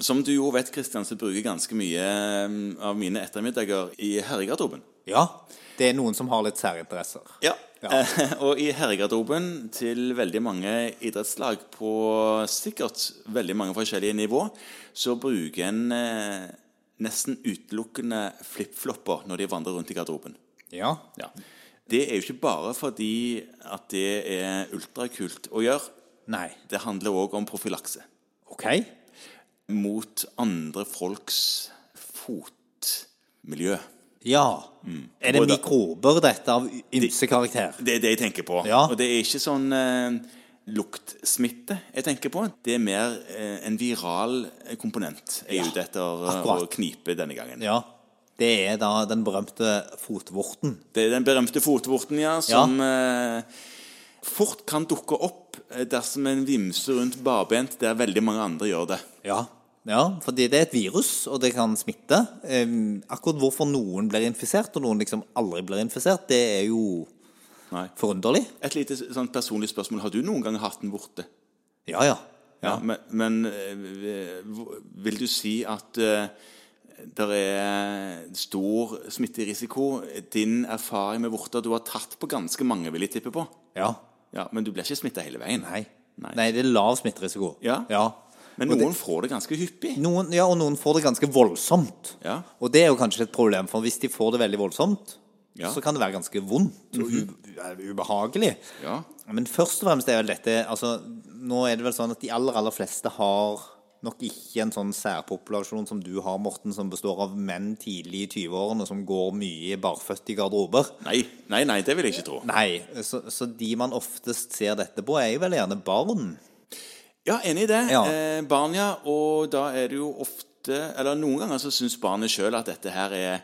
Som du jo vet, Kristian, så bruker jeg ganske mye eh, av mine ettermiddager i herregarderoben. Ja, det er noen som har litt særinteresser. Ja. Ja. Eh, og i herregarderoben til veldig mange idrettslag på sikkert veldig mange forskjellige nivå, så bruker en eh, nesten utelukkende flipflopper når de vandrer rundt i garderoben. Ja. Ja. Det er jo ikke bare fordi at det er ultrakult å gjøre. Nei. Det handler òg om profylakse Ok. mot andre folks fotmiljø. Ja. Er det Og da- mikrober, dette, av ymse karakter? Det er det jeg tenker på. Ja. Og det er ikke sånn eh, luktsmitte jeg tenker på. Det er mer eh, en viral eh, komponent jeg er Ja, ute etter eh, akkurat. å knipe denne gangen. Ja. Det er da den berømte fotvorten. Det er den berømte fotvorten, ja, som eh, fort kan dukke opp eh, dersom en vimser rundt barbent der veldig mange andre gjør det. Ja. ja, fordi det er et virus, og det kan smitte. Em, akkurat hvorfor noen blir infisert, og noen liksom aldri blir infisert, det er jo Nei. forunderlig. Et lite sånn personlig spørsmål. Har du noen gang hatt en vorte? Ja, ja. Ja, men, men eh, hvor- vil du si at det er stor smitterisiko? Din erfaring med vorter Du har tatt på ganske mange, vil jeg tippe på. ja. Ja, Men du blir ikke smitta hele veien? Nei. Nei. Nei, det er lav smitterisiko. Ja. Men Og det- noen får det ganske hyppig. Noen, ja, og noen får det ganske voldsomt. Ja. Og det er jo kanskje et problem, for hvis de får det veldig voldsomt, Ja. Mhm. så kan det være ganske vondt og ube ubehagelig. Ja. Men først og fremst er vel dette altså, Nå er det vel sånn at de aller, aller fleste har nok ikke en sånn særpopulasjon som du har, Morten, som består av menn tidlig i 20-årene som går mye barføtt i garderober. Nei, nei, nei, det vil jeg ikke tro. Nei, så, så de man oftest ser dette på, er jo vel gjerne barn. Ja, enig i det. Ja. Eh, barn, ja. Og da er det jo ofte Eller noen ganger så syns barnet sjøl at dette her er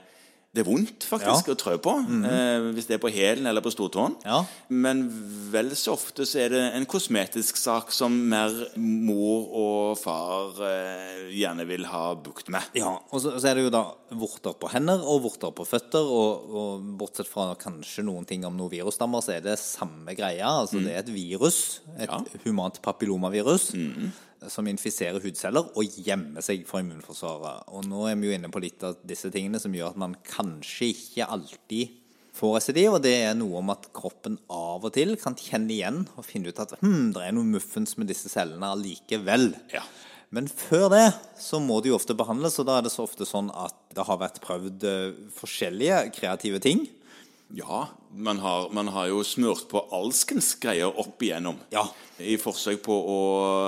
det er vondt faktisk Ja. Mhm. å trø på, eh, hvis det er på hælen eller på stortåen. Ja. Men vel så ofte så er det en kosmetisk sak som mer mor og far eh, gjerne vil ha bukt med. Ja, og så, så er det jo da vorter på hender og vorter på føtter, og, og bortsett fra kanskje noen ting om noen virusstammer, så er det samme greia. Altså det er et virus, et Ja. humant papillomavirus, som infiserer hudceller og gjemmer seg for immunforsvaret. Og nå er vi jo inne på litt av disse tingene som gjør at man kanskje ikke alltid får residiv, og det er noe om at kroppen av og til kan kjenne igjen og finne ut at hm, det er noe muffens med disse cellene allikevel. Ja. Men før det så må det jo ofte behandles, og da er det så ofte sånn at det har vært prøvd eh, forskjellige kreative ting. Ja, man har, man har jo smurt på alskens greier opp igjennom. Ja. I forsøk på å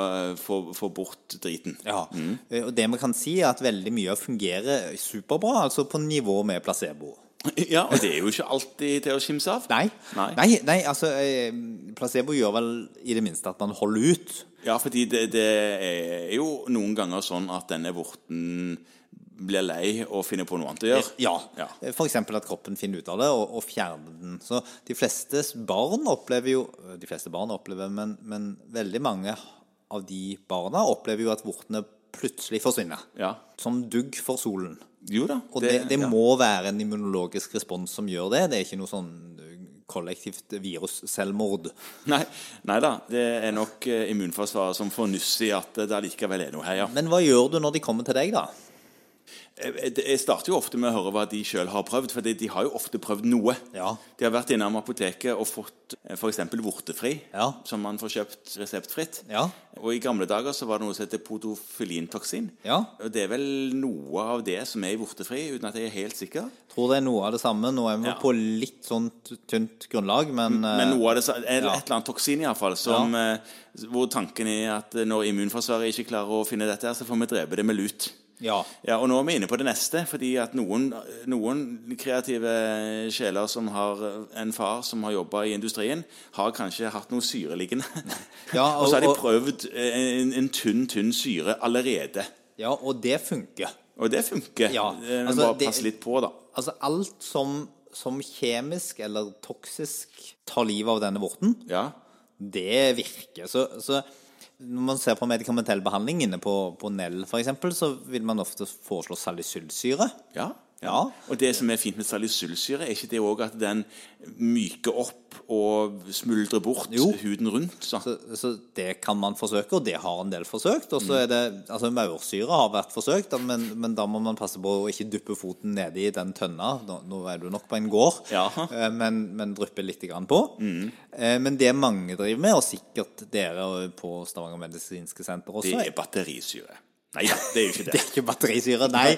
eh, få, få bort driten. Eh, Og det vi kan si, er at veldig mye fungerer superbra, altså på nivå med placebo. Ja, og det er jo ikke alltid til å kimse av. Nei, Nei. nei, nei altså eh, placebo gjør vel i det minste at man holder ut. Ja, fordi det, det er jo noen ganger sånn at denne vorten blir lei og finner på noe annet å gjøre. Ja. Ja. For eksempel at kroppen finner ut av det og, og fjerner den. Så de fleste barn opplever jo De fleste barn opplever, men, men veldig mange av de barna opplever jo at vortene plutselig forsvinner. Ja. Som dugg for solen. Jo da. Og det, det ja. må være en immunologisk respons som gjør det. Det er ikke noe sånn kollektivt virusselvmord. Nei, nei da. Det er nok eh, immunforsvaret som får nyss i at det allikevel er noe her, ja. Men hva gjør du når de kommer til deg, da? Jeg jeg starter jo ofte med å høre hva de sjøl har prøvd, for de har jo ofte prøvd noe. Ja. De har vært innom apoteket og fått f.eks. vortefri, Ja. som man får kjøpt reseptfritt. Ja. Og i gamle dager så var det noe som heter potofilintoksin. Ja. Og det er vel noe av det som er i vortefri, uten at jeg er helt sikker. Tror det er noe av det samme. Nå er vi Ja. på litt sånn tynt grunnlag, men, Men eh, noe av det, sa- et, ja. et eller annet toksin iallfall, som eh, Hvor tanken er at eh, når immunforsvaret ikke klarer å finne dette, her, så får vi drepe det med lut. Ja. Ja, og nå er vi inne på det neste, fordi at noen, noen kreative sjeler som har eh, en far som har jobba i industrien, har kanskje hatt noe syre liggende. Ja, og, så har de og- prøvd eh, en, en tynn, tynn syre allerede. ja, og det funker. Og det funker. Ja, Eh, Men altså, bare det- pass litt på, da. Altså alt som, som kjemisk eller toksisk tar livet av denne vorten, Ja. det virker. Så, så når man ser på medikamentell behandling inne på, på NEL f.eks., så vil man ofte foreslå salicylsyre. ja. Ja. Og det som er fint med salicylsyre, er ikke det òg at den myker opp og smuldrer bort Jo. huden rundt? Så. Så, eh, så det kan man forsøke, og det har en del forsøkt. Og så er det, altså Maursyre har vært forsøkt, da, men, men da må man passe på å ikke duppe foten nede i den tønna. Nå, nå er du nok på en gård, Jaha. eh, men, men dryppe litt grann på. Mm. Eh, Men det mange driver med, og sikkert dere på Stavanger medisinske senter Det også er batterisyre. Nei da, det er jo ikke Det det. er ikke batterisyre, nei.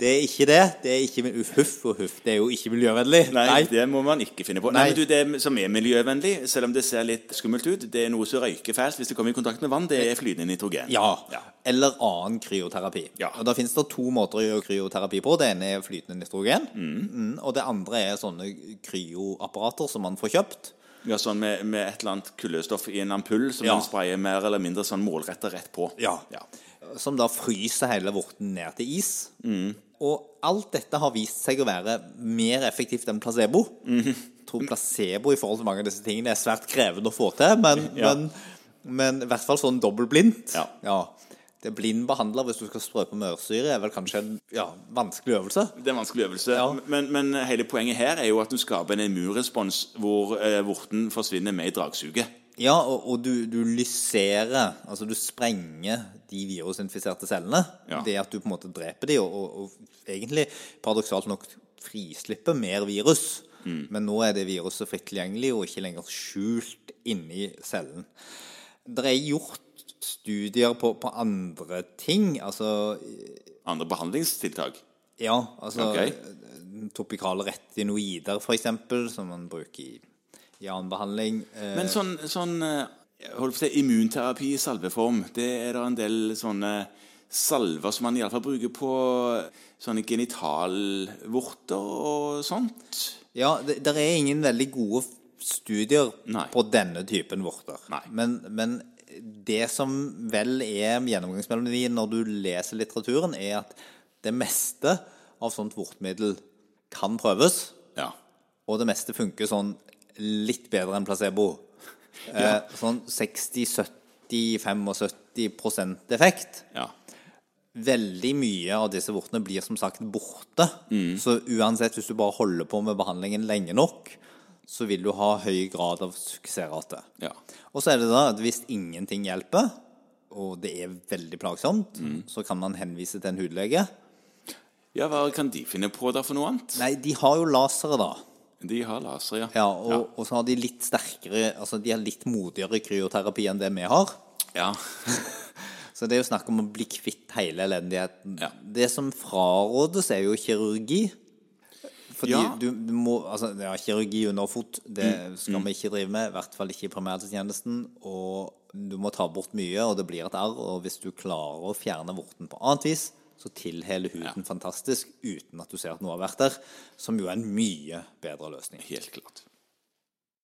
Det er ikke det. Det er ikke uff, huff og huff. Det er jo ikke miljøvennlig. Nei, det må man ikke finne på. Nei, Nei. men du, Det som er miljøvennlig, selv om det ser litt skummelt ut, det er noe som røyker fælt hvis det kommer i kontakt med vann, det er flytende nitrogen. Ja. Ja. Eller annen kryoterapi. Ja. Og Da finnes det to måter å gjøre kryoterapi på. Det ene er flytende nitrogen. Mm, og det andre er sånne kryoapparater som man får kjøpt. Ja, sånn med, med et eller annet kuldestoff i en ampull som Ja. man sprayer mer eller mindre sånn målrettet rett på. Ja. eh, Som da fryser hele vorten ned til is. Mm. Og alt dette har vist seg å være mer effektivt enn placebo. Mm. Jeg tror placebo i forhold til mange av disse tingene er svært krevende å få til, men, Ja. men, men i hvert fall sånn dobbeltblindt. Ja. Det blind behandler hvis du skal strø på mørsyre, er vel kanskje en ja, vanskelig øvelse. Det er en vanskelig øvelse. Ja. Men, men hele poenget her er jo at du skaper en immunrespons hvor eh, vorten forsvinner med i dragsuget. Ja, og, og du, du lyserer, altså du sprenger de virusinfiserte cellene. Ja. Det at du på en måte dreper de, og, og, og egentlig paradoksalt nok frislipper mer virus. Mm. Men nå er det viruset fritt tilgjengelig og ikke lenger skjult inni cellen. Det er gjort studier på, på andre ting, altså Andre behandlingstiltak. ja, altså Ok. topikale retinoider for eksempel, som man bruker i, i annen behandling. Eh, Men sånn, sånn eh, jeg holdt på å si, immunterapi i salveform, det er det en del sånne salver som man iallfall bruker på eh, sånne genitalvorter og sånt. Ja, det der er ingen veldig gode f- studier Nei. på denne typen vorter. Nei. Men, men det som vel er gjennomgangsmelodien når du leser litteraturen, er at det meste av sånt vortmiddel kan prøves, Ja. og det meste funker sånn litt bedre enn placebo. Eh, sånn 60-70-75 effekt ja. veldig mye av disse vortene blir som sagt borte. Så uansett, hvis du bare holder på med behandlingen lenge nok, så vil du ha høy grad av suksessrate. Ja. Og så er det da at hvis ingenting hjelper, og det er veldig plagsomt, så kan man henvise til en hudlege. ja, hva kan de finne på der for noe annet? Nei, de har jo lasere, da. De har laser, ja. Ja, og, og så har de litt sterkere Altså de har litt modigere kryoterapi enn det vi har. ja. Så det er jo snakk om å bli kvitt hele elendigheten. Ja. Det som frarådes, er jo kirurgi. Fordi Ja. Mm. du, du må Altså, ja, kirurgi under fot, det skal vi ikke drive med. I hvert fall ikke i primærhelsetjenesten. Og du må ta bort mye, og det blir et arr. Og hvis du klarer å fjerne vorten på annet vis, så tilheler huden fantastisk uten at du ser at noe har vært der. Som jo er en mye bedre løsning. Helt klart.